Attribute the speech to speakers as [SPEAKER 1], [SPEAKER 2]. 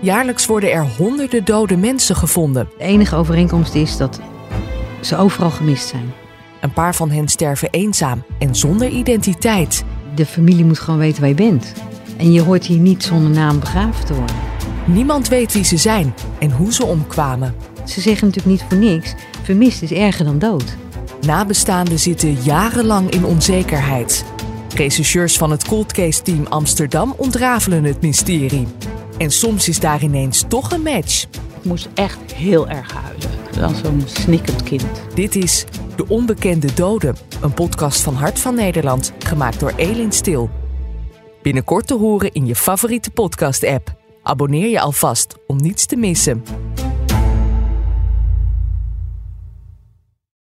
[SPEAKER 1] Jaarlijks worden er honderden dode mensen gevonden.
[SPEAKER 2] De enige overeenkomst is dat ze overal gemist zijn.
[SPEAKER 1] Een paar van hen sterven eenzaam en zonder identiteit.
[SPEAKER 2] De familie moet gewoon weten waar je bent. En je hoort hier niet zonder naam begraven te worden.
[SPEAKER 1] Niemand weet wie ze zijn en hoe ze omkwamen.
[SPEAKER 2] Ze zeggen natuurlijk niet voor niks: vermist is erger dan dood.
[SPEAKER 1] Nabestaanden zitten jarenlang in onzekerheid. Rechercheurs van het Cold Case Team Amsterdam ontrafelen het mysterie. En soms is daar ineens toch een match.
[SPEAKER 3] Ik moest echt heel erg huilen. Als zo'n snikkend kind.
[SPEAKER 1] Dit is De Onbekende Doden, een podcast van Hart van Nederland, gemaakt door Elin Stil. Binnenkort te horen in je favoriete podcast-app. Abonneer je alvast om niets te missen.